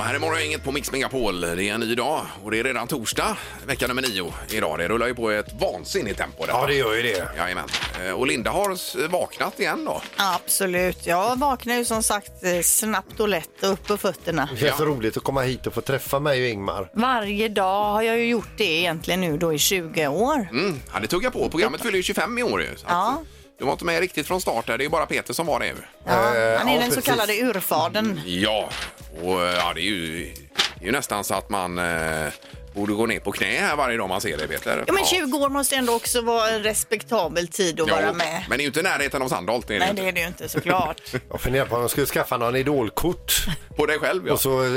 här är morgon, inget på Mix Megapol. Det är en ny dag och det är redan torsdag, vecka nummer nio idag. Det rullar ju på i ett vansinnigt tempo. Ja, det gör ju det. Jajamän. Eh, Och Linda har s- vaknat igen då. Absolut. Jag vaknar ju som sagt eh, snabbt och lätt och upp på fötterna. Det känns så roligt att komma hit och få träffa mig och Ingmar. Varje dag har jag ju gjort det egentligen nu då i 20 år. Mm, ja, det tuggar på. Programmet fyller ju 25 i år ju. Så att, Ja. Du var inte med riktigt från start där. Det är ju bara Peter som var det. ju. Eh, Ja, han är ja, den så precis. kallade urfadern. Ja, och eh, ja, det är ju, det är ju nästan så att man eh, borde gå ner på knä här varje dag man ser det, Peter. Ja, men 20 år måste ändå också vara en respektabel tid att Ja, vara med. Men det är ju inte i närheten av Sandholt. det Är det Nej, inte. det är det ju inte såklart. Jag funderar på om jag skulle skaffa någon idolkort På dig själv, ja. och så eh,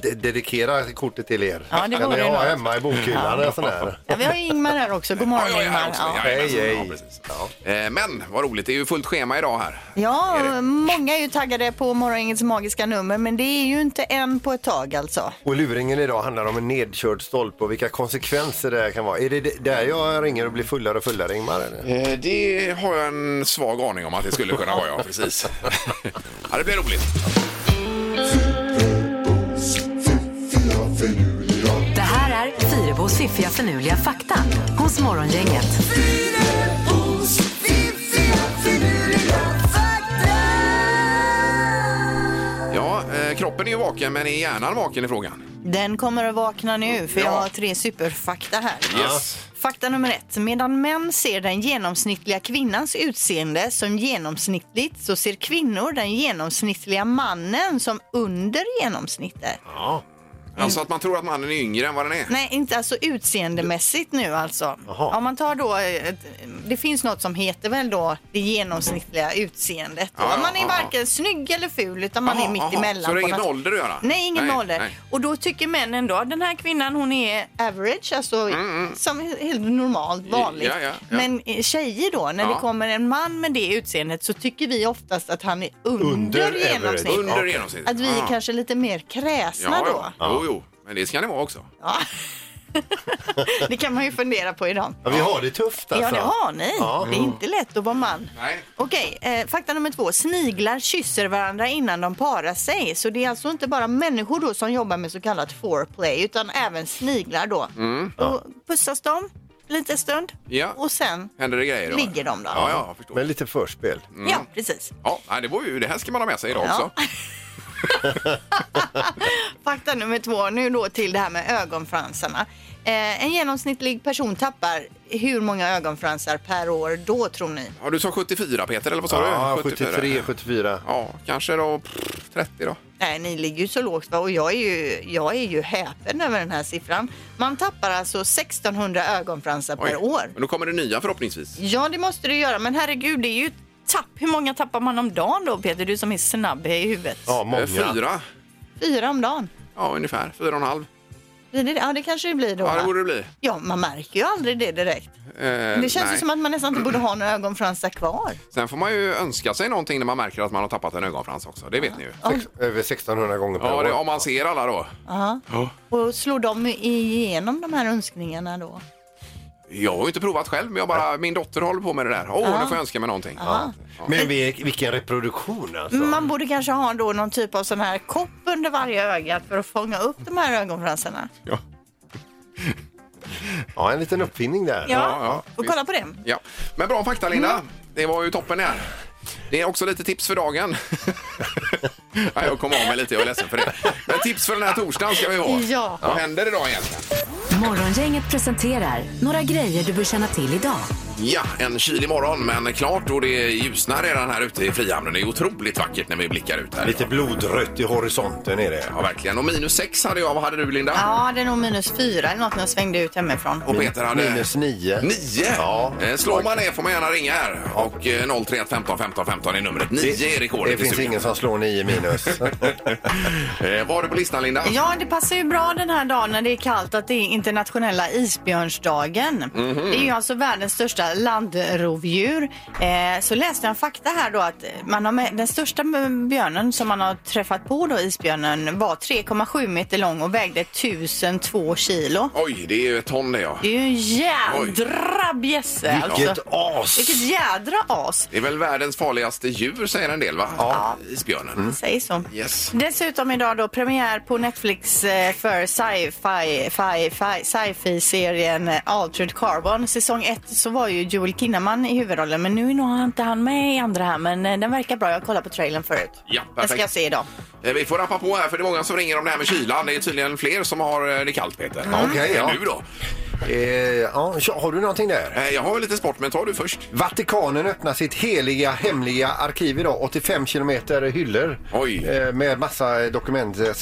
de- dedikera kortet till er. Ja, det kan vore ni ha något. hemma i bokhyllan eller sån här. Ja, vi har ju Ingmar här också. God morgon ja, jag är här Ingmar. också. Ja. Jajamensan, Hej, hej. Ja, precis. Eh, Men vad roligt, det är ju fullt schema idag här. Ja, Är det? många är ju taggade på morgongängets magiska nummer men det är ju inte en på ett tag alltså. Och luringen idag handlar om en nedkörd stolpe och vilka konsekvenser det här kan vara. Är det d- där jag ringer och blir fullare och fullare Ingmar? Eller? Eh, Det har jag en svag aning om att det skulle kunna vara, ja. Precis. ja, det blir roligt. Det här är Fyrabos fiffiga förnuliga fakta hos Morgongänget. Ja, eh, kroppen är ju vaken, men är hjärnan vaken i frågan? Den kommer att vakna nu för jag Ja. har tre superfakta här. Yes. Fakta nummer ett. Medan män ser den genomsnittliga kvinnans utseende som genomsnittligt så ser kvinnor den genomsnittliga mannen som under genomsnittet. Ja. Alltså att man tror att mannen är yngre än vad den är. Nej, inte alltså utseendemässigt nu alltså. Jaha. Om man tar då, eh, ett- det finns något som heter väl då det genomsnittliga utseendet. Ja, ja, man är ja, varken snygg eller ful utan man Jaha, är mitt jaha. emellan. Så det på är ingen något- ålder att göra? Nej, ingen Nej, ålder. nej. Och då tycker männen då, den här kvinnan hon är average, alltså som helt normalt vanligt. Mm, Ja, ja, ja. Men eh, tjejer då, när Ja. det kommer en man med det utseendet så tycker vi oftast att han är under, Under average. genomsnitt. Under Okej. genomsnittet? Att vi är Ah. kanske lite mer kräsna ja, då. Ja. Jo, jo, men det ska ni vara också. Ja. det kan man ju fundera på idag. ja, vi har det tufft Ja, alltså. det har ni. Ja. Det är inte lätt att vara man. Nej. Okej, eh, fakta nummer två. Sniglar kysser varandra innan de parar sig. Så det är alltså inte bara människor då som jobbar med så kallat foreplay utan även sniglar då. Och pussas de lite stund Mm. Ja. och sen Händer det grejer då? ligger de då. Ja, Mm. ja, jag förstår. Men lite förspel. Ja, precis. Ja, nej, det, var ju, det här ska man ha med sig idag Ja. också. Fakta nummer två, nu då till det här med ögonfransarna. Eh, en genomsnittlig person tappar hur många ögonfransar per år då tror ni? Ja, du sa 74 Peter, eller vad sa Ja, du? 73, 74. Ja, kanske då pff, 30 då. Nej, ni ligger ju så lågt va? och jag är, ju, jag är ju häpen över den här siffran. Man tappar alltså 1600 ögonfransar Oj. per år. Men då kommer det nya förhoppningsvis. Ja, det måste du göra, men herregud, det är ju ett tapp. Hur många tappar man om dagen då, Peter? Du som är snabb i huvudet. Ja, Eh, många. Fyra, Fyra om dagen. ja ungefär. Fyra och en halv. Blir det det? Ja, det kanske det blir då. Ja, det va? borde det bli. ja, man märker ju aldrig det direkt. Eh, Det känns ju nej. som att man nästan inte borde ha några ögonfransar kvar. Sen får man ju önska sig någonting när man märker att man har tappat en ögonfrans också. Det vet ni ju. Sex, över 1600 gånger per Ja, år. det, om man ser alla då. Ja. Ja. Och slår de igenom de här önskningarna då? Jag har ju inte provat själv, men jag bara, min dotter håller på med det där. Åh, nu får jag önska mig någonting. Ja. Men vil- vilken reproduktion alltså. Men Man borde kanske ha då någon typ av sån här kopp under varje öga för att fånga upp de här ögonfransarna. Ja. Ja, en liten uppfinning där. Ja, ja, och kolla på det. ja. Men bra fakta, Linda. Mm. Det var ju toppen här. Det är också lite tips för dagen. ja, jag kom av mig lite, jag är ledsen för det. Men tips för den här torsdagen ska vi ha. Ja. Vad händer idag egentligen? Morgongänget presenterar några grejer du bör känna till idag. Ja, en kylig morgon, men klart och det ljusnar redan här ute i Frihamnen. Det är otroligt vackert när vi blickar ut här. Lite blodrött i horisonten är det. Ja, verkligen. Och minus sex hade jag. Vad hade du, Linda? Ja, det är nog minus fyra eller något när jag svängde ut hemifrån. Och Peter hade... Minus nio. Nio? Ja. Eh, Slår man ner får man gärna ringa här. Och eh, 031 15 15 15 är numret. Nio är rekordet Det i finns studion. ingen som slår nio minus. Eh, Vad har du på listan, Linda? Ja, det passar ju bra den här dagen när det är kallt att det är internationella isbjörnsdagen. Mhm. Det är ju alltså världens största landrovdjur. Eh, så läste jag en fakta här då att man har med, den största björnen som man har träffat på då, isbjörnen, var 3,7 meter lång och vägde 1002 kilo. Oj, det är ju ett ton det, ja. Det är ju en Oj. jädra snabb gässe Vilket alltså. as! Vilket jädra as. Det är väl världens farligaste djur säger en del va? Ja. Isbjörnen. Säg så. Yes. Dessutom idag då premiär på Netflix eh, för sci-fi, fi, fi, sci-fi-serien eh, Altered Carbon. Säsong ett så var ju Joel Kinnaman i huvudrollen men nu är nog inte han med i andra här men eh, den verkar bra. Jag kollade på trailern förut. Ja, Den ska perfekt. jag se idag. Eh, Vi får rappa på här för det är många som ringer om det här med kylan. Det är tydligen fler som har eh, det kallt Peter. Okej, ja. Nu då? Eh, ja, tja, har du någonting där? Eh, Jag har ju lite sport men tar du först. Vatikanen öppnar sitt heliga hemliga arkiv idag. 85 kilometer hyllor Oj. Eh, med massa dokument eh,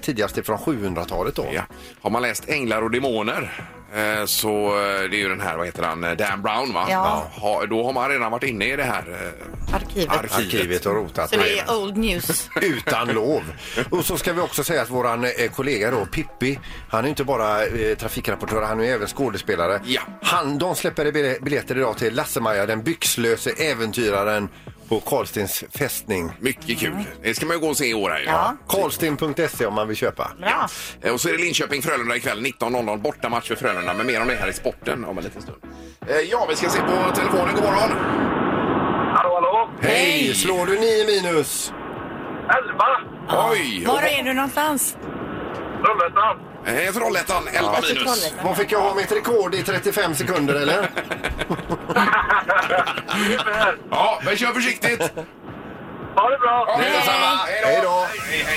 tidigast från 700-talet. Då. Ja. Har man läst Änglar och demoner eh, så eh, det är ju den här, vad heter han, eh, Dan Brown va? Ja. Ha, då har man redan varit inne i det här eh, Arkivet. arkivet. Arkivet och rotat. Så det Nej, är old news. Utan lov. Och så ska vi också säga att våran eh, kollega då, Pippi, han är inte bara eh, trafikrapportör, han är ju även skådespelare. Ja. Han, de släpper bil- biljetter idag till Lasse-Maja, den byxlöse äventyraren på Karlstens fästning. Mycket kul. Det ska man ju gå och se i år här ju. Mm. Ja. Karlsten.se E om man vill köpa. Bra. Eh, Och så är det Linköping-Frölunda ikväll 19.00. Bortamatch för Frölunda. Men mer om det här i sporten om en liten stund. Eh, Ja, vi ska se på telefonen. God morgon! Hallå, hallå! Hej! Slår du 9 minus? Elva! Oj! Var är du någonstans? Trollhättan! Eh, Trollhättan 11 minus. Kontrollen. Vad fick jag ha mitt rekord i 35 sekunder eller? Ungefär. Ja, men kör försiktigt! Ha det bra! Ja, detsamma. Hej Hej då!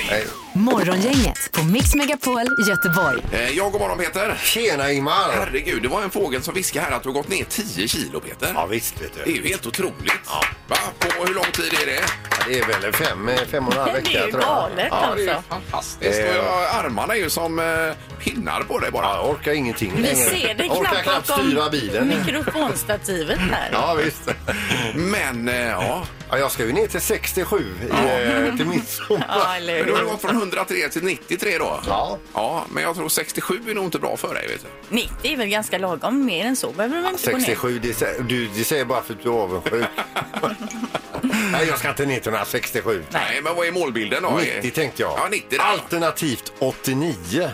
Hej, Morgongänget på Mix Megapol Göteborg. då! Eh, Ja, god morgon Peter! Tjena Ingmar! Herregud, det var en fågel som viskade här att du har gått ner 10 kilo Peter. Ja visst vet Det är du. ju helt otroligt. Va? På hur lång tid är det? Det är väl fem, eh, fem och en halv Det är vecka ju tror jag. galet Ja, det är- alltså. Fantastiskt. Eh. Och jag, armarna är ju som eh, pinnar på dig bara. Ja, jag orkar ingenting Vi längre. ser det Jag orkar knappt knappt bakom styra bilen. mikrofonstativet här. Ja visst. Men eh, ja, Ja, jag ska ju ner till 67 i, eh, till Ja, midsommar. eller men du har hur? gått från 103 till 93 då? Ja. Ja, men jag tror 67 är nog inte bra för dig. Vet du. 90 är väl ganska lagom. Mer än så behöver man inte gå ner. 67, det, sä- du, det säger bara för att du är avundsjuk. Nej, jag ska inte ner till några 67. Nej, men vad är målbilden då? 90 tänkte jag. Ja, 90 där. Alternativt 89.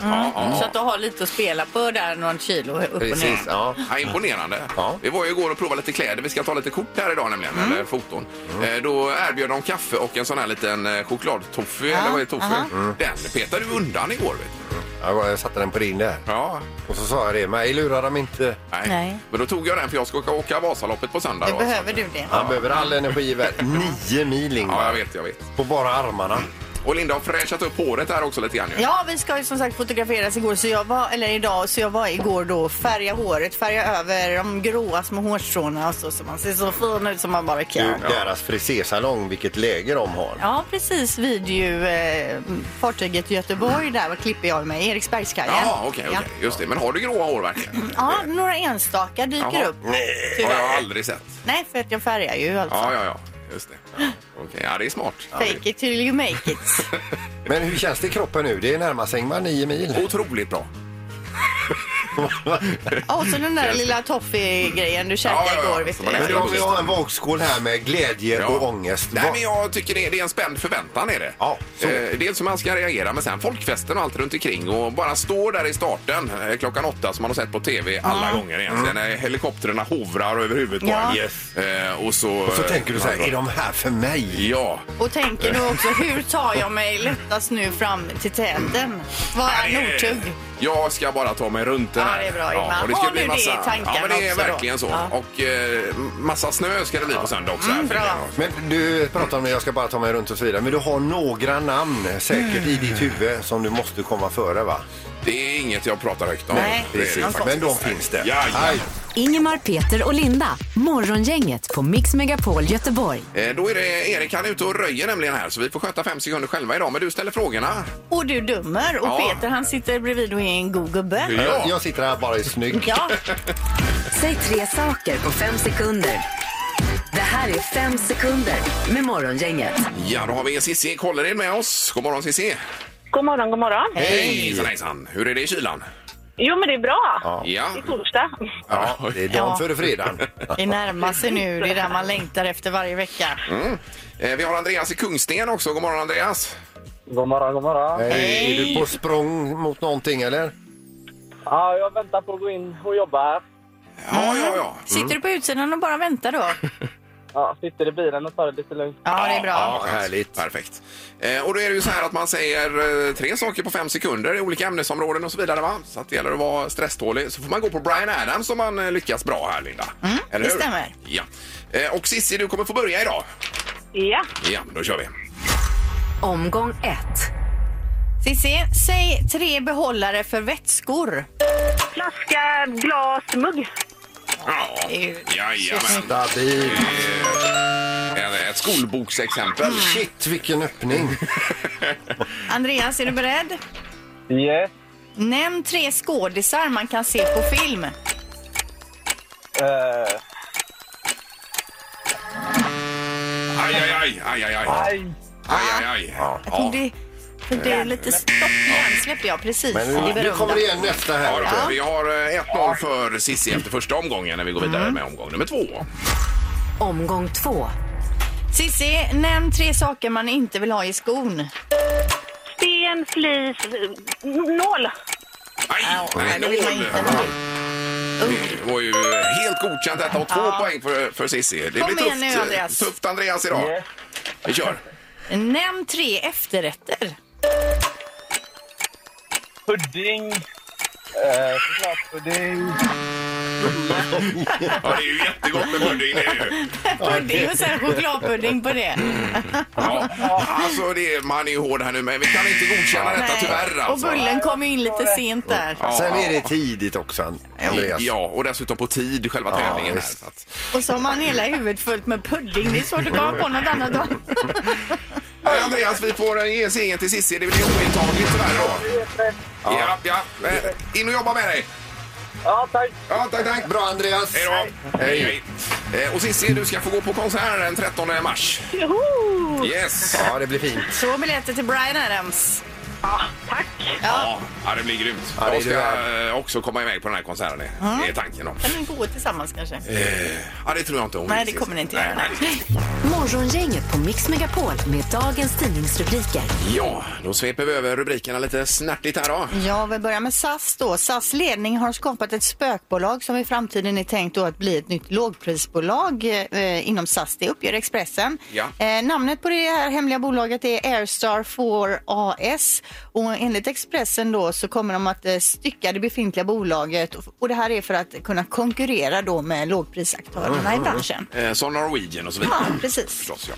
Så att du har lite att spela på där, någon kilo upp och Precis, ner. ja. Ja, imponerande. Ja. Vi var ju igår och provade lite kläder. Vi ska ta lite kort här idag nämligen, Mm. eller foton. Eh, Då erbjöd de kaffe och en sån här liten eh, chokladtoffee, eller vad är toffee? Mm. Den petade du undan igår. Vet du. Ja, Jag satte den på din där. Ja. Och så sa jag det, mig lurar de inte. Nej. Nej. Men då tog jag den för jag ska åka, åka Vasaloppet på söndag. Det då, behöver så att- du det. Han behöver all energi i världen. Nio mil Ingmar. Ja, jag vet, jag vet. På bara armarna. Och Linda har fräschat upp håret här också lite grann. ju. Ja, vi ska ju som sagt fotograferas igår, så jag var, eller idag, så jag var igår då färga håret, färga över de gråa små hårstråna och så, så man ser så fin ut som man bara Du, kan. Deras frisersalong, vilket läge de har. Ja, precis vid ju eh, fartyget Göteborg där klipper jag mig, Eriksbergskajen. Ja, okej, okej. Just det. Men har du gråa hår verkligen? Ja. ja, några enstaka dyker Jaha. upp. Nej. Har Tyvärr. jag aldrig sett. Nej, för att jag färgar ju alltså. Ja, ja, ja. Just det. Ja. Okej, ja, det är smart. Fake it till you make it. Men hur känns det i kroppen nu? Det är närmast Ingmar, nio mil. Otroligt bra. Ja, Och så den där lilla toffee-grejen du Ja, käkade ja, ja. igår. Vet Så du. man Men Ja, om vi har en vågskål här med glädje och ångest. Nej, Vad- men jag tycker det, det är en spänd förväntan. Är det. Ja, så. Eh, dels hur man ska reagera, men sen folkfesten och allt runt omkring och bara stå där i starten eh, klockan åtta som man har sett på tv alla gånger egentligen. Mm. Helikoptrarna hovrar över huvudet på Ja. en. Yes. Eh, och så, Så tänker du så här, är de här för mig? Ja. Och tänker då också, hur tar jag mig lättast nu fram till täten? Vad är Nordtugg? Jag ska bara ta mig runt den Ja, här. det är bra, Ingmar. och det ska Har bli du det massa, i tankarna Ja, men det är också då? verkligen så. Ja. Och eh, massa snö ska det bli på söndag också. här Mm, för bra. er. Men du pratar om det, jag ska bara ta mig runt och så vidare. Men du har några namn säkert i ditt huvud som du måste komma före va? Det är inget jag pratar högt om. Nej, det är det precis. faktiskt. Men de finns det. Ja, ja. Aj. Ingemar, Peter och Linda. Morgongänget på Mix Megapol Göteborg. Eh, Då är det Erik, han är ute och röjer nämligen här så vi får sköta fem sekunder själva idag. Men du ställer frågorna. Och du dömer. Och Ja. Peter han sitter bredvid och är en god gubbe. Ja. eh, Jag sitter här bara i snygg. Ja, Säg tre saker på fem sekunder. Det här är fem sekunder med Morgongänget. Ja, då har vi Cissi Kollerin med oss. God morgon Cissi! God morgon, god morgon. Hej! Hejsan, hejsan. Hur är det i kylan? Jo, men det är bra. Ja. Ja. Det är torsdag. Ja, det är dagen Ja. före fredagen. det närmar sig nu. Det är där man längtar efter varje vecka. Eh, Vi har Andreas i Kungsten också. God morgon Andreas! God morgon, god morgon. Hej. Är du på språng mot någonting eller? Ja, jag väntar på att gå in och jobba här. Ja, ja, ja. Sitter du på utsidan och bara väntar då? Ja, sitter i bilen och tar det lite lugnt. Ja, det är bra. Ja, härligt. Perfekt. Eh, och då är det ju så här att man säger eh, tre saker på fem sekunder i olika ämnesområden och så vidare va? Så att det gäller att vara stresstålig. Så får man gå på Brian Adams om man eh, lyckas bra här Linda. Mm, det stämmer. Ja. Eh, och Cissi, du kommer få börja idag. Ja. Ja, då kör vi. Omgång ett. Cissi, säg tre behållare för vätskor. Flaska, glas, mugg. Ja, ju- jajamän. Stabil. Eh, Ett skolboksexempel. Mm. Shit, vilken öppning. Andreas, är du beredd? Yes. Nämn tre skådisar man kan se på film. Eh, Aj, aj, aj, aj, aj, aj, aj, aj. aj, aj. Ja, Jag tog det, tog det lite stopp igen, släppte jag precis Men i nu, nu verundan. kommer det igen nästa då. här. Vi har eh, 1-0 för Cissi efter första omgången när vi går Mm. vidare med omgång nummer två. Omgång två. Cissi, nämn tre saker man inte vill ha i skon. Sten, flis, nål. Aj, Au, nej, det vill man inte noll. ha. Det var ju helt godkänt detta och två Ja. poäng för, för Cissi. Det Kom blir igen tufft, eh, nu, Andreas. tufft Andreas idag. Yes. Vi kör. Nämn tre efterrätter. Pudding. Eh, Chokladpudding. Ja, det är ju jättegott med pudding. Det är det ju. Pudding och sen chokladpudding på det. Ja. Alltså, det är, man är ju hård här nu, men vi kan inte godkänna detta Nej. tyvärr. Och Alltså. bullen kom ju in lite sent där. Sen är det tidigt också, Andreas. Ja, och dessutom på tid, själva Ja, tävlingen. Här, visst. så att, Och så har man hela huvudet fullt med pudding. Det är svårt att komma på något annat då. Nej, Andreas, vi får eh, ge segern till Cissi. Det blir ointagligt tyvärr då. Ja, ja. Eh, In och jobba med dig. Ja, tack. Ja, tack, tack. Bra, Andreas. Hej då. Hej. hej. Eh, Och Cissi, du ska få gå på konsert den 13 mars. Joho! Yes. Ja, det blir fint. Två biljetter till Brian Adams. Ja, tack. Ja, Ja, ja, det blir grymt. Ja, det jag ska är eh, också komma iväg på den här konserten. Det är tanken. Då. kan ni gå tillsammans kanske? Ja, det tror jag inte hon Nej, vill, det kommer ni inte Cissi. göra. Nej, nej. Nej. Morgongänget på Mix Megapol med dagens tidningsrubriker. Ja, då sveper vi över rubrikerna lite snärtigt här då. Ja, vi börjar med SAS då. SAS ledning har skapat ett spökbolag som i framtiden är tänkt då att bli ett nytt lågprisbolag eh, inom SAS. Det uppger Expressen. Ja. Eh, namnet på det här hemliga bolaget är Airstar 4 AS och enligt Expressen då så kommer de att eh, stycka det befintliga bolaget och det här är för att kunna konkurrera då med lågprisaktörerna i branschen. Eh, Som Norwegian och så vidare. Ja, precis. Förstås,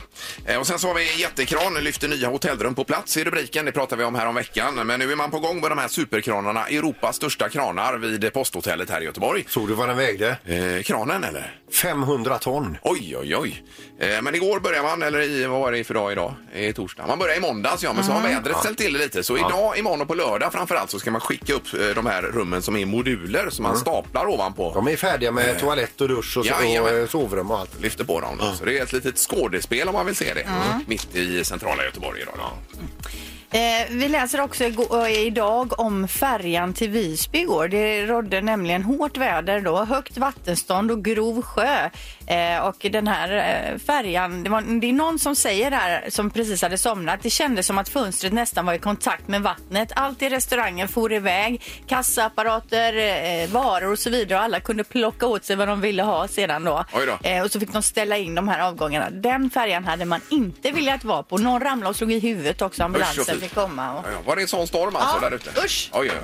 ja. Eh, Och sen så har vi Jättekran, lyfter nya hotellrum på plats i rubriken. Det pratade vi om här om veckan. Men nu är man på gång med de här superkranarna. Europas största kranar vid posthotellet här i Göteborg. Såg du vad den vägde? Eh, kranen eller? 500 ton. Oj, oj, oj. Eh, men igår börjar man, eller i, vad var det för dag idag? I torsdag. Man börjar i måndags ja, men så har vädret ställt till det lite. Så idag, imorgon och på lördag framförallt så ska man skicka upp eh, de här rummen som är moduler som man staplar ovanpå. De är färdiga med toalett och dusch och, så, och Jajamän. eh, sovrum och allt. lyfter på dem. Då. Så det är ett litet skådespel om man vill se det. Mitt i centrala Göteborg idag. Då. Eh, vi läser också igår, eh, idag om färjan till Visby igår. Det rådde nämligen hårt väder då, högt vattenstånd och grov sjö. Eh, och den här eh, färjan, det, var, det är någon som säger där som precis hade somnat, det kändes som att fönstret nästan var i kontakt med vattnet. Allt i restaurangen for iväg, kassaapparater, eh, varor och så vidare och alla kunde plocka åt sig vad de ville ha sedan då. Oj då. Eh, och så fick de ställa in de här avgångarna. Den färjan hade man inte velat vara på. Någon ramlade och slog i huvudet också. Usch, och Ambulansen fy. fick komma. Och... Ja, ja. Var det en sån storm alltså Ja, där ute? usch. Oj, oj,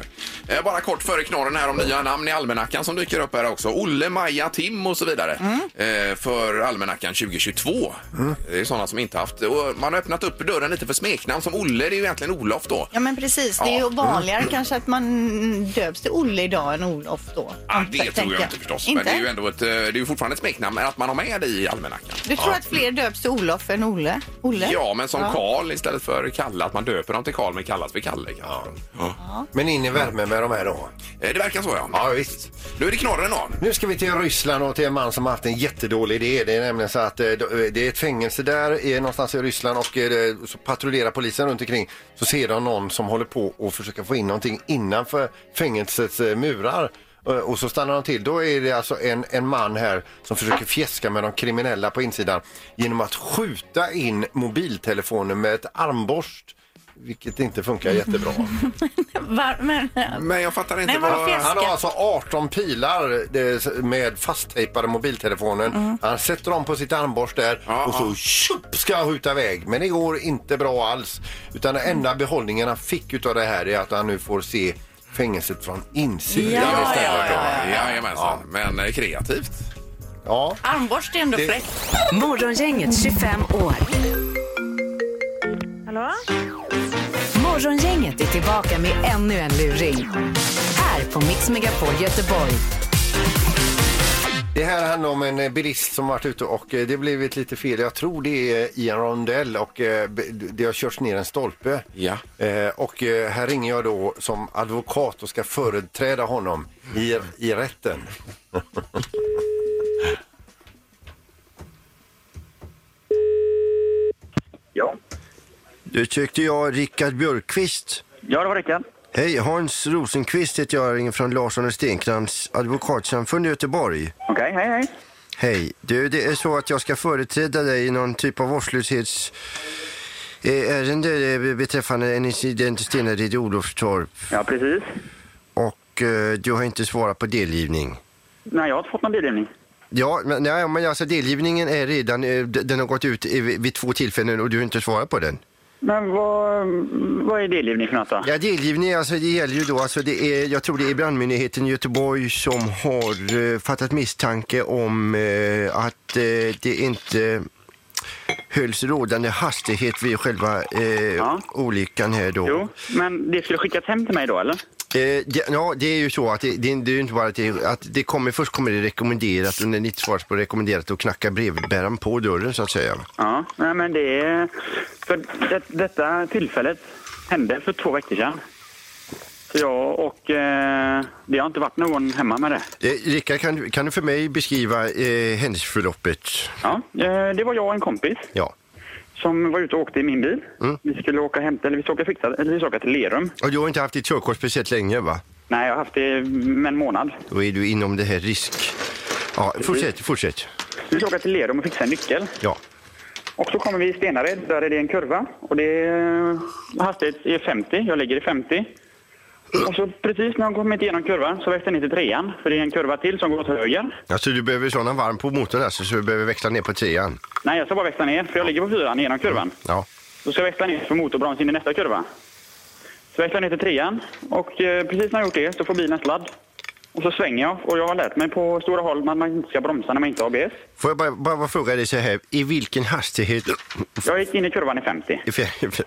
oj. Eh, Bara kort före knorren här om nya namn i almanackan som dyker upp här också. Olle, Maja, Tim och så vidare eh, för almanackan 2022. Det är sådana som inte haft. Och man har öppnat upp dörren lite för smeknamn som Olle, det är ju egentligen Olof då. Ja men precis, det är Ja. ju vanligare kanske att man döps till Olle idag än Olof då. Ah, det tror tänker jag inte förstås. Inte? Men det är ju ändå ett, eh, det är ju fortfarande ett smeknamn men att man har med det i almanackan. Du tror att fler döps till Olof än Olle? Olle? Ja, men som Karl istället för Kalle. Att man döper dem till Karl men kallas för Kalle. kanske. Ja. Men in i värmen med de här då. Eh, Det verkar så, ja. Ja, visst. Nu är det knorren då. Nu ska vi till Ryssland och till en man som har haft en jättedålig idé. Det är nämligen så att eh, det är ett fängelse där eh, någonstans i Ryssland och eh, så patrullerar polisen runt omkring. Så ser de någon som håller på och försöker få in någonting innanför fängelsets eh, murar. Eh, Och så stannar de till. Då är det alltså en, en man här som försöker fjäska med de kriminella på insidan genom att skjuta in mobiltelefonen med ett armborst Vilket inte funkar jättebra. Var, men, Men jag fattar inte Nej, vad vad... fel. Han har alltså 18 pilar eh, med fasttejpade mobiltelefonen. Mm. Han sätter dem på sitt armborst där Ja, och så ja. tjup, ska han skjuta iväg. Men det går inte bra alls. Utan den Mm. enda behållningen han fick utav det här är att han nu får se fängelset från insidan Ja, istället. Ja, Ja, ja, Jajamensan. Men eh, kreativt. armborst är ändå Det- fräckt. Morgongänget 25 år. Hallå? Morgongänget är tillbaka med ännu en luring. Här på Mix Megapol Göteborg. Det här handlar om en eh, bilist som varit ute och eh, det blev ett lite fel. Jag tror det är i en rondell och eh, be- det har körts ner en stolpe. Ja. Eh, Och eh, här ringer jag då som advokat och ska företräda honom i, i rätten. Ja. Du tyckte jag Rickard Björkqvist. Ja, det var Rickard. Hej, Hans Rosenqvist heter jag, ringer från Larsson och Stenkrams advokatsamfund i Göteborg. Okej, hej, hej. Hej. Du, det är så att jag ska företräda dig i någon typ av vårdslöshets eh, ärende eh, beträffande en incident i Stenared i Olofstorp Ja, precis. och eh, du har inte svarat på delgivning. Nej, jag har inte fått någon delgivning. Ja, men, nej, men alltså delgivningen är redan, eh, d- den har gått ut i- vid två tillfällen och du har inte svarat på den. Men vad, vad är delgivning för något då? Ja, delgivning alltså, det gäller ju då, alltså, det är, jag tror det är brandmyndigheten i Göteborg som har eh, fattat misstanke om eh, att eh, det inte hölls rådande hastighet vid själva eh, Ja. olyckan här då. Jo, men det skulle skickas hem till mig då, eller? Eh, det, ja, det är ju så att det, det, det är ju inte bara att det, att det kommer, först kommer det rekommenderat och när ni inte svarar på rekommenderat då knackar brevbäraren på dörren så att säga. Ja, nej men det är... För det, detta tillfället hände för två veckor sedan. Så jag och... Eh, det har inte varit någon hemma med det. Eh, Rickard, kan, du- kan du för mig beskriva eh, händelseförloppet? Ja, eh, det var jag och en kompis Ja. som var ute och åkte i min bil. Vi skulle åka hem, eller vi skulle åka, fixa, eller vi skulle åka till Lerum. Och du har inte haft ditt körkort speciellt länge va? Nej, jag har haft det med en månad. Då är du inom det här risk... Ja, fortsätt, fortsätt. Vi skulle åka till Lerum och fixa en nyckel. Ja. Och så kommer vi i Stenared, där är det en kurva. Och det är hastighet är 50, jag ligger i 50. Och så precis när jag kommit igenom kurvan så växte den in till trean. För det är en kurva till som går åt höger. Alltså du behöver sådana varm på motorn alltså, så du behöver växla ner på trean. Nej, jag ska bara växla ner, för jag ligger på fyran genom kurvan. Ja. Då ska jag växla ner för motorbroms in i nästa kurva. Så växlar jag ner till trean och eh, precis när jag gjort det så får bilen sladd. Och så svänger jag och jag har lärt mig på stora håll att man inte ska bromsa när man inte har ABS. Får jag bara, bara fråga dig så här, i vilken hastighet... Jag gick in i kurvan i 50.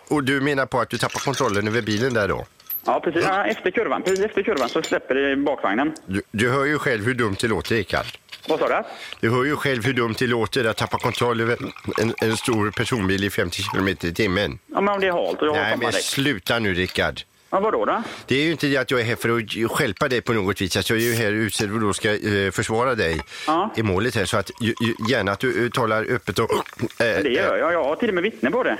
Och du menar på att du tappar kontrollen över bilen där då? Ja, precis. Ja, efter kurvan. Precis efter kurvan så släpper det bakvagnen. Du, du hör ju själv hur dumt det låter, Rickard. Vad sa du? Du hör ju själv hur dumt det låter att tappa kontroll över en, en stor personbil i 50 km i timmen. Ja, men om det är halt och jag har Nej, samma men däck. sluta nu, Rickard. Ja, vadå då? Det är ju inte det att jag är här för att stjälpa dig på något vis. Alltså, jag är ju här utsedd och då ska eh, försvara dig Ja. i målet här. Så att, ju, ju, gärna att du talar öppet och... eh, Det gör eh, jag. Jag har till och med vittne på det.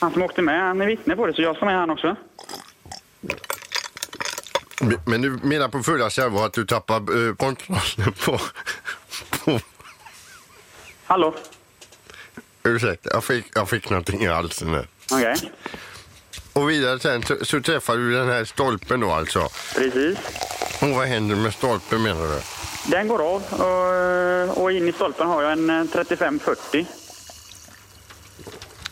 Han som åkte med, han är vittne på det, så jag ska med han också. eh, Men du menar på fullaste allvar att du tappar eh, kontrollen på... på Hallå? ursäkta, jag fick, jag fick någonting i halsen nu. Okej, Och vidare sen så, så träffar du den här stolpen då alltså. precis. Och vad händer med stolpen menar du? Den går av och, och in i stolpen har jag en eh, 35-40.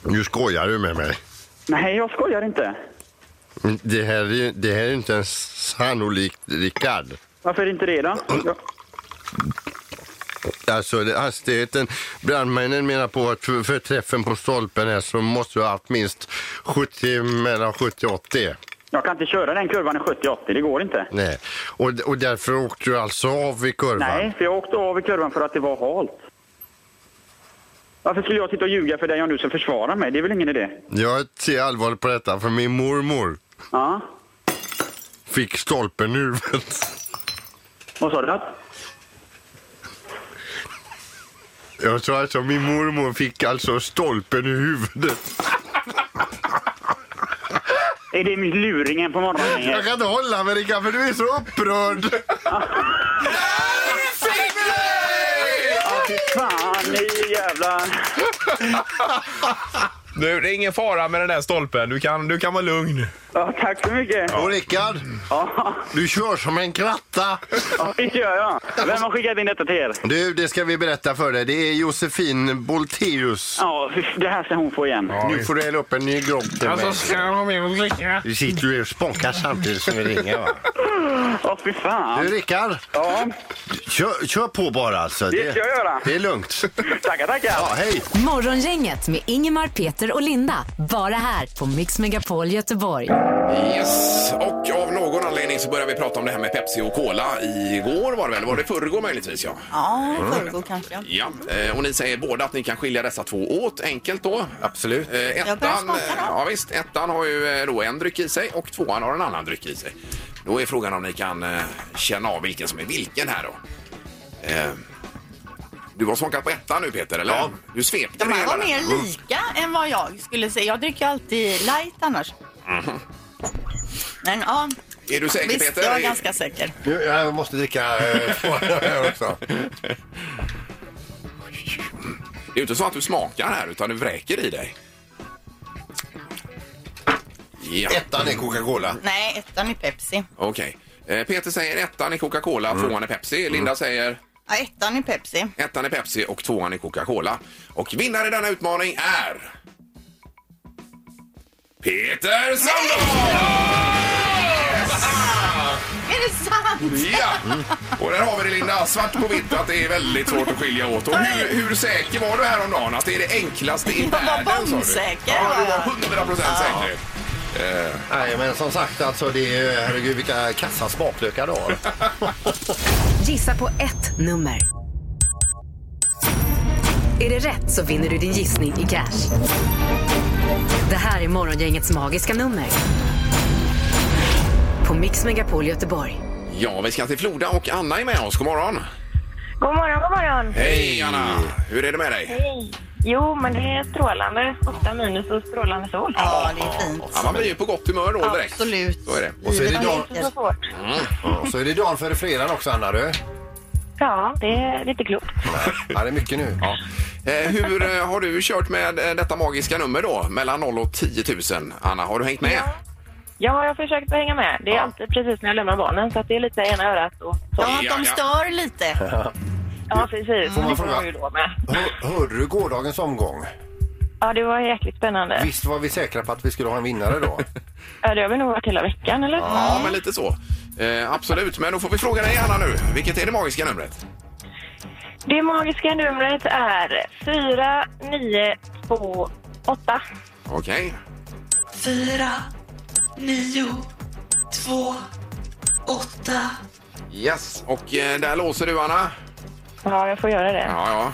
Nu skojar du med mig. Nej, jag skojar inte. Det här är, ju- det här är ju inte ens sannolikt, Rickard. Varför inte det då? Jag, Alltså det- hastigheten, brandmännen menar på att för, för träffen på stolpen här så måste du ha haft minst 70, mellan 70 och 80. jag kan inte köra den kurvan i 70-80, det går inte. Nej. Och, och därför åkte du alltså av i kurvan? Nej, för jag åkte av i kurvan för att det var halt. Varför skulle jag sitta och ljuga för dig om du ska försvara mig? Det är väl ingen idé? Jag ser allvarligt på detta för min mormor Ja, fick stolpen i huvudet. vad sa du? Jag sa alltså min mormor fick alltså stolpen i huvudet. Är det luringen på morgonen? Jag kan inte hålla mig Rickard för du är så upprörd. Fan, ni jävla... Nu, det är ingen fara med den där stolpen. Du kan, du kan vara lugn. Ja, tack så mycket. Och Rickard, Ja, du kör som en kratta. ja, det gör jag. Vem har skickat in detta till er? Du, det ska vi berätta för dig. Det är Josefin Bolteus. Ja, det här ska hon få igen. Nu får du hälla upp en ny grogg till mig. ska jag ha med och dricka? Alltså, Du sitter ju och spånkar samtidigt som vi ringer va? Åh, fy Du fan. Rickard, Ja, kör, kör på bara alltså. Det ska jag göra. Det är lugnt. tackar, tackar. Ja, hej. Morgongänget med Ingemar, Peter och Linda. Bara här på Mix Megapol Göteborg. Yes, och av någon anledning så började vi prata om det här med Pepsi och Cola igår var det väl? Var det förrgår möjligtvis? Ja. Ja, i förrgår kanske. Ja, eh, och ni säger båda att ni kan skilja dessa två åt. Enkelt då. Absolut. Eh, börjar Ettan, smaka eh, då. ja, visst, ettan har ju eh, då en dryck i sig och tvåan har en annan dryck i sig. Då är frågan om ni kan eh, känna av vilken som är vilken här då. Eh, du har smakat på ettan nu Peter, eller? Ja. Du svepte De det här hela var där. mer lika än vad jag skulle säga. Jag dricker alltid light annars. Men ja, Är du säker visst, Mhm. Peter? jag är Är- ganska säker. Nu, jag måste dricka eh, två här också. Det är ju inte så att du smakar här utan du vräker i dig. Ja, Ettan är Coca-Cola. Nej, ettan är Pepsi. okej. Eh, Peter säger ettan är Coca-Cola, tvåan är Pepsi. Linda säger Ja, ettan är Pepsi. ettan är Pepsi och tvåan är Coca-Cola. Och vinnare i denna utmaning är... Peter Sandahl! Är det sant? Ja! Och där har vi det Linda, svart på vitt att det är väldigt svårt att skilja åt. Och hur, hur säker var du häromdagen att det är det enklaste i Jag var världen? sa du? bombsäker, Ja, du var jag. var 100 procent säker. Nej, men som sagt alltså det är, herregud vilka kassa smaklökar du har. Gissa på ett nummer. Är det rätt så vinner du din gissning i cash. Det här är Morgongängets magiska nummer. På Mix Megapol Göteborg. Ja, vi ska till Floda och Anna är med oss. God morgon! God morgon, god morgon. Hej Anna! Hur är det med dig? Hej. Jo, men det är strålande. 8 minus och strålande sol. Ja, det är fint. Ja, man blir ju på gott humör då direkt. Absolut. Så är det. Och så är det Det är dagen, inte så svårt. och så är det dagen före fredagen också Anna du. Ja, det är lite klokt. Ja, det är mycket nu. Ja. Eh, hur eh, har du kört med eh, detta magiska nummer då? Mellan 0 och 10 000. Anna, har du hängt med? Ja, jag har försökt att hänga med. Det är Ja. alltid precis när jag lämnar barnen, så att det är lite ena örat och så. Ja, att de stör lite. Ja, precis. Får man Det får fråga? man ju då med. Hör, hörde du gårdagens omgång? Ja, det var jäkligt spännande. Visst var vi säkra på att vi skulle ha en vinnare då? Ja, det har vi nog varit hela veckan, eller? Ja, men lite så. Eh, absolut, men då får vi fråga dig Anna nu. Vilket är det magiska numret? Det magiska numret är 4928. Okej. fyra, nio, två, åtta, Yes, och eh, där låser du Anna. Ja, jag får göra det. Ja, ja.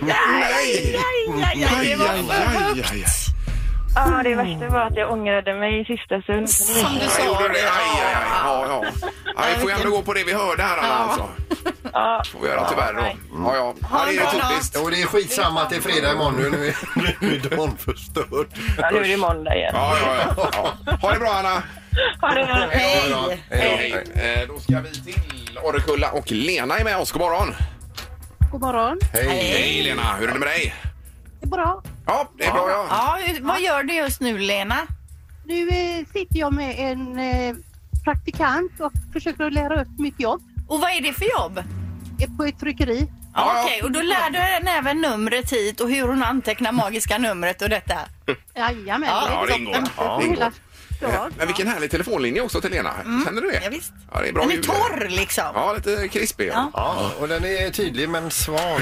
Nej! Aj, aj, det var för högt. Ja, det värsta var att jag ångrade mig i sista stund. Som du Jag sa. gjorde det. Aj, aj, aj. Ja, ja. Ja, vi får ju ändå gå på det vi hörde här Anna, alltså. Ja, Får vi göra tyvärr då. Ja, ja. ja Ha en det bra är dag. typiskt. Och det är skitsamma att det är fredag imorgon. Nu nu är, nu är dagen förstörd. ja, nu är det måndag igen. Ja, ja, ja, ja. Ha det bra Anna. Ha det bra. Hej! Hej. Eh, Då ska vi till Orrekulla och Lena är med oss. God morgon. God morgon. Hej. Hej Lena, hur är det med dig? Det är bra. Ja, det är bra ja. Ja, hur- vad gör du just nu Lena? Nu eh, sitter jag med en eh, praktikant och försöker att lära upp mitt jobb Och vad är det för jobb? eh, på ett tryckeri. Ja, ja. Ja, Okej, och då lär du henne även numret hit och hur hon antecknar magiska numret och detta. Jajamän. Ja, det ingår. Ja, Det ingår. hela dagen. Men vilken härlig telefonlinje också till Lena. Känner du det? Ja, visst. Ja, det är bra Den är ljud. torr liksom. Ja, lite krispig. Ja. Ja, och den är tydlig men svag.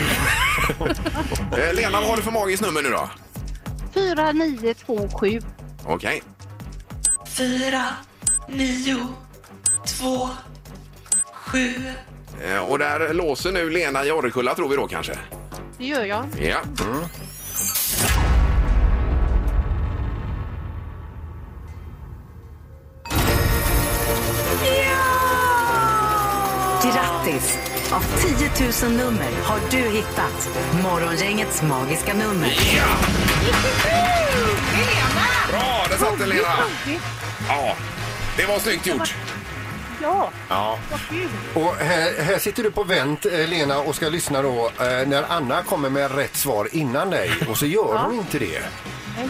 Eh, Lena, vad har du för magiskt nummer nu då? 4927. Okej. fyra, nio, två, sju, Eh, Och där låser nu Lena i Orrekulla tror vi då kanske. Det gör jag. Ja. Grattis! Av 10 000 nummer har du hittat Morgongängets magiska nummer. ja! Bra, där satt den Lena! Ja, det var snyggt gjort. ja. Ja. Vad kul. Och här, här sitter du på vänt, eh, Lena, och ska lyssna då eh, när Anna kommer med rätt svar innan dig. Och så gör hon inte det. Nej,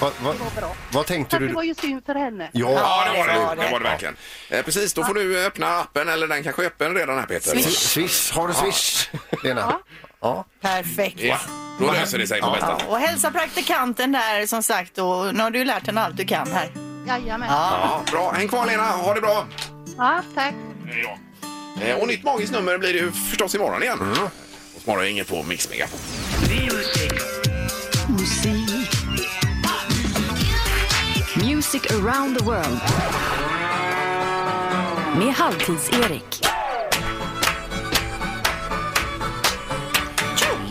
Va, va, det var bra. vad tänkte Fast det du? var ju synd för henne. Ja, Ja, det var absolut. det. Det var det verkligen. Eh, Precis, då får du öppna appen, eller den kanske är öppen redan här Peter. Ja. Swish, har du swish, Lena? Ja. Perfekt. Ja, då löser det sig på bästa Ja, sätt. och hälsa praktikanten där som sagt och nu har du lärt henne allt du kan här. Jajamän. Ja, bra. Häng kvar Lena, ha det bra. Ja, tack. Ja. Eh, Och nytt magiskt nummer blir det ju förstås imorgon igen. Och morgon inget på Mix Megapol. Music around the world. Med Halvtids-Erik.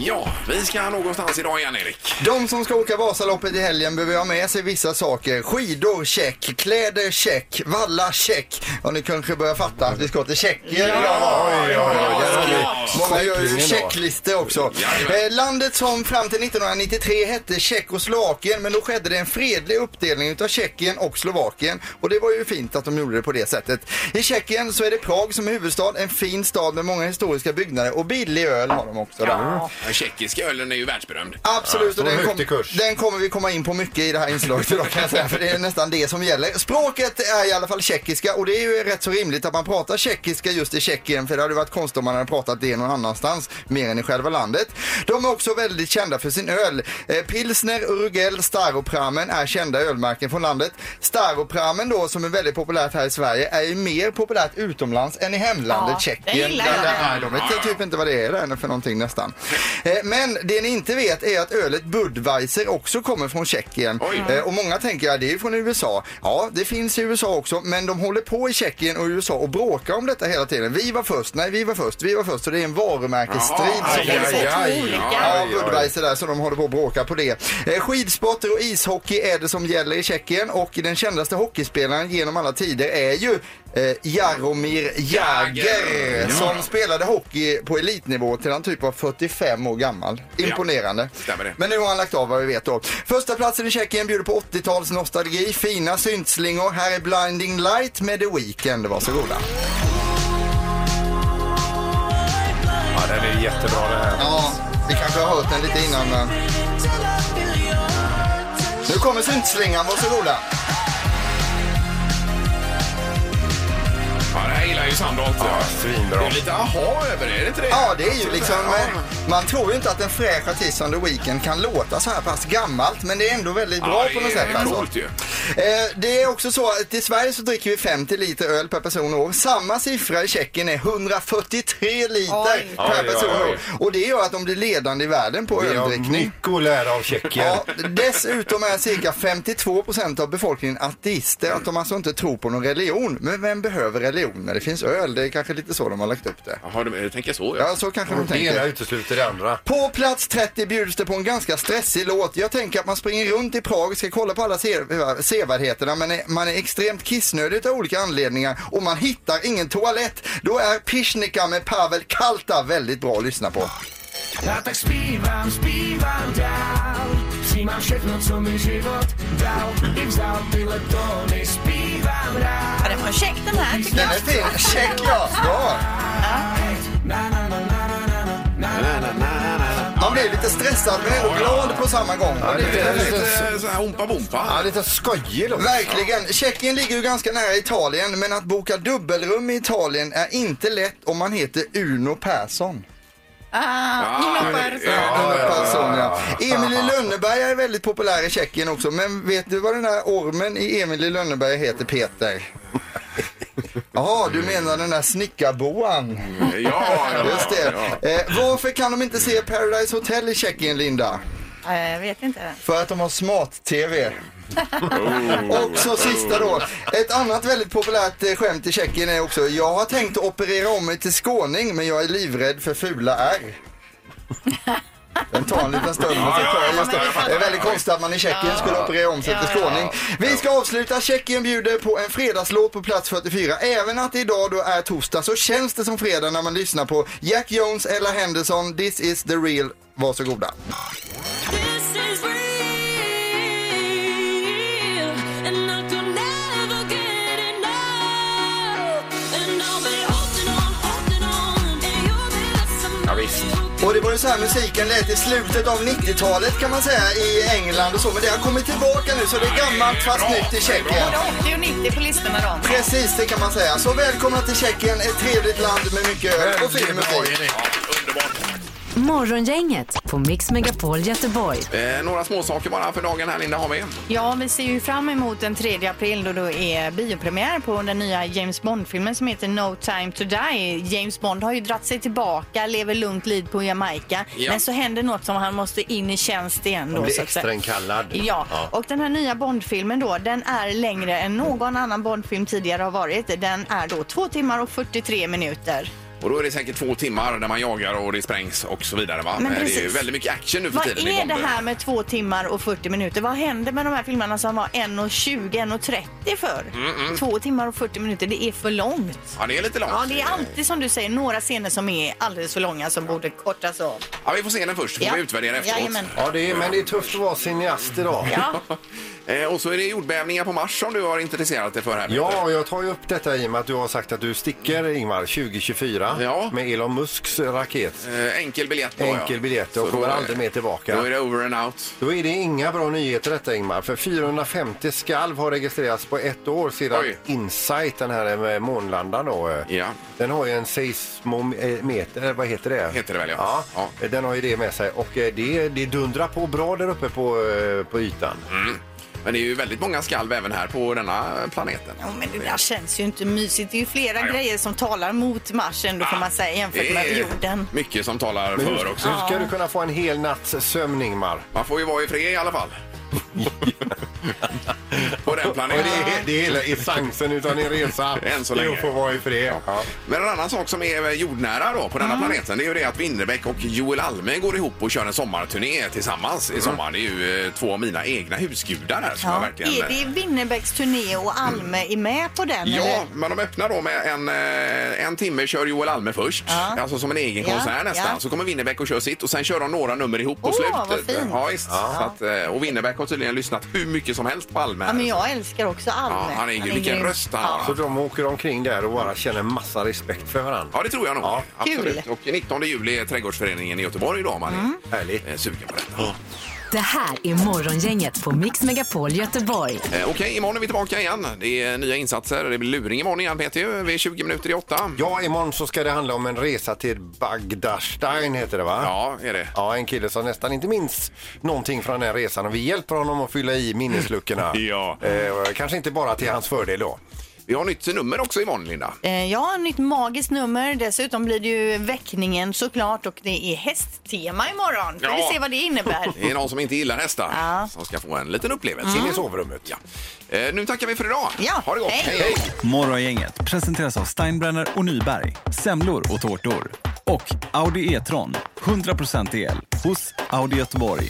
Ja, vi ska någonstans idag igen Erik. De som ska åka Vasaloppet i helgen behöver ha med sig vissa saker. Skidor, check. Kläder, check. Valla, check. Och ni kanske börjar fatta att vi ska till Tjeckien. ja, ja. Många gör ju Tjeckien då. checklistor också. Jajamän. Eh, landet som fram till 1993 hette Tjeckoslovakien men då skedde det en fredlig uppdelning utav Tjeckien och Slovakien och det var ju fint att de gjorde det på det sättet. I Tjeckien så är det Prag som är huvudstad, en fin stad med många historiska byggnader och billig öl har de också där. Den tjeckiska ölen är ju världsberömd. Absolut, Ja, och står den, högt i kurs. den kommer vi komma in på mycket i det här inslaget idag kan jag säga, för det är nästan det som gäller. Språket är i alla fall tjeckiska och det är ju rätt så rimligt att man pratar tjeckiska just i Tjeckien för det hade varit konstigt om man hade pratat det någon annanstans mer än i själva landet. De är också väldigt kända för sin öl. Eh, Pilsner, Urugel, Staropramen är kända ölmärken från landet. Staropramen då som är väldigt populärt här i Sverige är ju mer populärt utomlands än i hemlandet Ja, Tjeckien. det gillar Där- jag. där är de jag vet typ inte vad det är där för någonting nästan. Eh, Men det ni inte vet är att ölet Budweiser också kommer från Tjeckien. Oj. Eh, Och många tänker att det är från USA. Ja, det finns i USA också, men de håller på i Tjeckien och USA och bråkar om detta hela tiden. Vi var först, nej vi var först, vi var först. Så det är en varumärkesstrid Jaha, som aj, håller aj, på. aj. Ja, Oj, oj. Budweiser där, så de håller på att bråka på det. Eh, Skidsporter och ishockey är det som gäller i Tjeckien och den kändaste hockeyspelaren genom alla tider är ju eh, Jaromir Jagr Jagr. Ja. som spelade hockey på elitnivå till han typ var 45 år gammal. Imponerande. stämmer det. Men nu har han lagt av vad vi vet då. Första platsen i Tjeckien bjuder på 80-tals nostalgi, fina syntslingor. Här är Blinding Light med The Weeknd. Varsågoda. ja, den är jättebra det här. Ja, vi kanske har hört den lite innan men... Nu kommer syntslingan, varsågoda. Ja, det här gillar ju Sandholt. Ja, svinbra. Det är lite aha över det, är det inte det? Ja, det är ju liksom... Ja. eh, Man tror ju inte att en fräsch artist som The Weeknd kan låta så här pass gammalt, men det är ändå väldigt bra Ja, på något det är sätt. Alltså. Coolt ju. Eh, Det är också så att i Sverige så dricker vi 50 liter öl per person och år. Samma siffra i Tjeckien är 143 liter Oj. per Oj, person och oj, år. Och det gör att de blir ledande i världen på Vi har öldrickning. mycket att lära av Tjeckien. Ja, dessutom är cirka 52 procent av befolkningen ateister, att de alltså inte tror på någon religion. Men vem behöver religion när det finns öl? Det är kanske lite så de har lagt upp det. Jaha, du, du tänker så ja. Ja, så kanske de Det ena tänker. utesluter det andra. På plats 30 bjuds det på en ganska stressig låt. Jag tänker att man springer runt i Prag, ska kolla på alla sev- sevärdheterna, men är- man är extremt kissnödig av olika anledningar och man hittar ingen toalett. Då är Pishnika med Pavel Kalta väldigt bra att lyssna på. Ja, den var check den här tycker Den jag. är fin. Check ja. Bra. Man blir lite stressad men ändå glad på samma gång. Och det är Det är väldigt- lite så här ompa-bompa. Ja, lite skojig låt. Verkligen! Tjeckien ligger ju ganska nära Italien men att boka dubbelrum i Italien är inte lätt om man heter Uno Persson. Ah, Uno Persson. ja, Uno Persson ja. Emil i Lönneberga är väldigt populär i Tjeckien också men vet du vad den där ormen i Emil i Lönneberga heter Peter? Jaha, du menar den där snickarboan? ja, ja, Just det. ja. Eh, varför kan de inte se Paradise Hotel i Tjeckien, Linda? Ja, Jag vet inte. För att de har smart-tv. Oh. och så sista då. Ett annat väldigt populärt eh, skämt i Tjeckien är också Jag har tänkt att operera om mig till skåning men jag är livrädd för fula R. Den tar en liten stund. Ja, ja, jag Just det. fattar, jag det är fattar. väldigt konstigt att man i Tjeckien skulle operera om sig till skåning. Vi ska avsluta. Tjeckien bjuder på en fredagslåt på plats 44. Även att det idag då är torsdag så känns det som fredag när man lyssnar på Jack Jones, Ella Henderson, This is the real. Varsågoda. And I could never get enough. Och så här musiken lät i slutet av 90-talet kan man säga i England och så. Men det har kommit tillbaka nu så det är gammalt fast nytt i Tjeckien. Både 80 och 90 på listorna då. Precis, det kan man säga. Så välkomna till Tjeckien, ett trevligt land med mycket öl och fin musik. Morgongänget på Mix Megapol Göteborg. Eh, några småsaker bara för dagen här Linda har vi. Ja, vi ser ju fram emot den 3 april då det är biopremiär på den nya James Bond-filmen som heter No time to die. James Bond har ju dratt sig tillbaka, lever lugnt liv på Jamaica. Ja. Men så händer något som han måste in i tjänst igen då. Han blir så att säga. extrainkallad. Ja, och den här nya Bondfilmen då, den är längre än någon annan Bondfilm tidigare har varit. Den är då 2 timmar och 43 minuter. Och då är det säkert två timmar där man jagar och det sprängs och så vidare va? Men Eh, det är ju precis. väldigt mycket action nu för Vad tiden. i är det Bond. här med två timmar och 40 minuter? Vad hände med de här filmerna som var 1.20, 1.30 förr? Mm, mm. Två timmar och 40 minuter, det är för långt. Ja, det är lite långt. Ja, det är alltid som du säger, några scener som är alldeles för långa som borde kortas av. Ja, vi får se den först, får Ja. vi utvärdera efteråt. Jajamän. Ja, det är, men det är tufft att vara cineast idag. Eh, och så är det jordbävningar på Mars som du har intresserat dig för här. Peter. Ja, jag tar ju upp detta i och med att du har sagt att du sticker, Ingmar, 2024 med Elon Musks raket. Eh, enkel biljett då, Enkel biljett och Så kommer då är- aldrig mer tillbaka. Då är det over and out. Då är det inga bra nyheter detta Ingmar, för 450 skalv har registrerats på ett år sedan Oj. Insight, den här eh, månlandaren då. eh, Ja. Den har ju en seismometer, eller eh, vad heter det? Heter det väl, ja. Eh, Den har ju det med sig och eh, det, det dundrar på bra där uppe på, eh, på ytan. Mm. Men det är ju väldigt många skalv även här på denna planeten. Ja, men det där känns ju inte mysigt. Det är ju flera Ja, ja. grejer som talar mot Mars ändå får man säga jämfört Det med är jorden. Mycket som talar Men hur, för också. hur ska du kunna få en hel natts sömn Ingmar? Man får ju vara i fred i alla fall. på den planeten. Och det är- det är hela essensen utav din resa. Än så Det är länge. att få vara i fred. Men en annan sak som är eh, jordnära då på denna Mm. planeten det är ju det att Winnerbäck och Joel Alme går ihop och kör en sommarturné tillsammans i sommar. Det är ju eh, två av mina egna husgudar här som jag Mm. Ja. verkligen... eh, Mm. Är det Winnerbäcks turné och Alme är med på den? Ja, eller? men de öppnar då med en, eh, en timme kör Joel Alme först, Ja. alltså som en egen Ja, konsert nästan. ja. Så kommer Winnerbäck och kör sitt och sen kör de några nummer ihop på Åh, vad slutet. fint. Ja, visst. Ja. Så att, eh, och Winnerbäck har tydligen lyssnat hur mycket som helst på Alme. Ja, men här. jag älskar också Alme. Ja, han är ju vilken grym. röst han har. Så de åker omkring där och bara känner massa respekt för varandra. Ja, det tror jag nog. Absolut. Kul. Och 19 juli är Trädgårdsföreningen i Göteborg idag om man Mm. är eh, sugen på detta. Det här är Morgongänget på Mix Megapol Göteborg. Eh, Okej, imorgon är vi tillbaka igen. Det är nya insatser. Det blir luring imorgon igen, Peter. ju. Vi är 20 minuter i åtta. Ja, imorgon så ska det handla om en resa till Bagdadstein heter det va? Ja, är det. Ja, en kille som nästan inte minns någonting från den här resan och vi hjälper honom att fylla i minnesluckorna. Ja. eh, kanske inte bara till hans fördel då. Vi har nytt nummer också imorgon, Linda. Eh, Ja, nytt magiskt nummer. Dessutom blir det ju väckningen såklart och det är hästtema imorgon. Får Ja. vi se vad det innebär. Det är någon som inte gillar hästar Ja. Mm. som ska få en liten upplevelse. In i sovrummet. Ja. Eh, nu tackar vi för idag. Ja, Ha det gott. hej. Morgongänget presenteras av Steinbrenner och Nyberg, semlor och tårtor. Och Audi E-tron, 100% el, hos Audi Göteborg.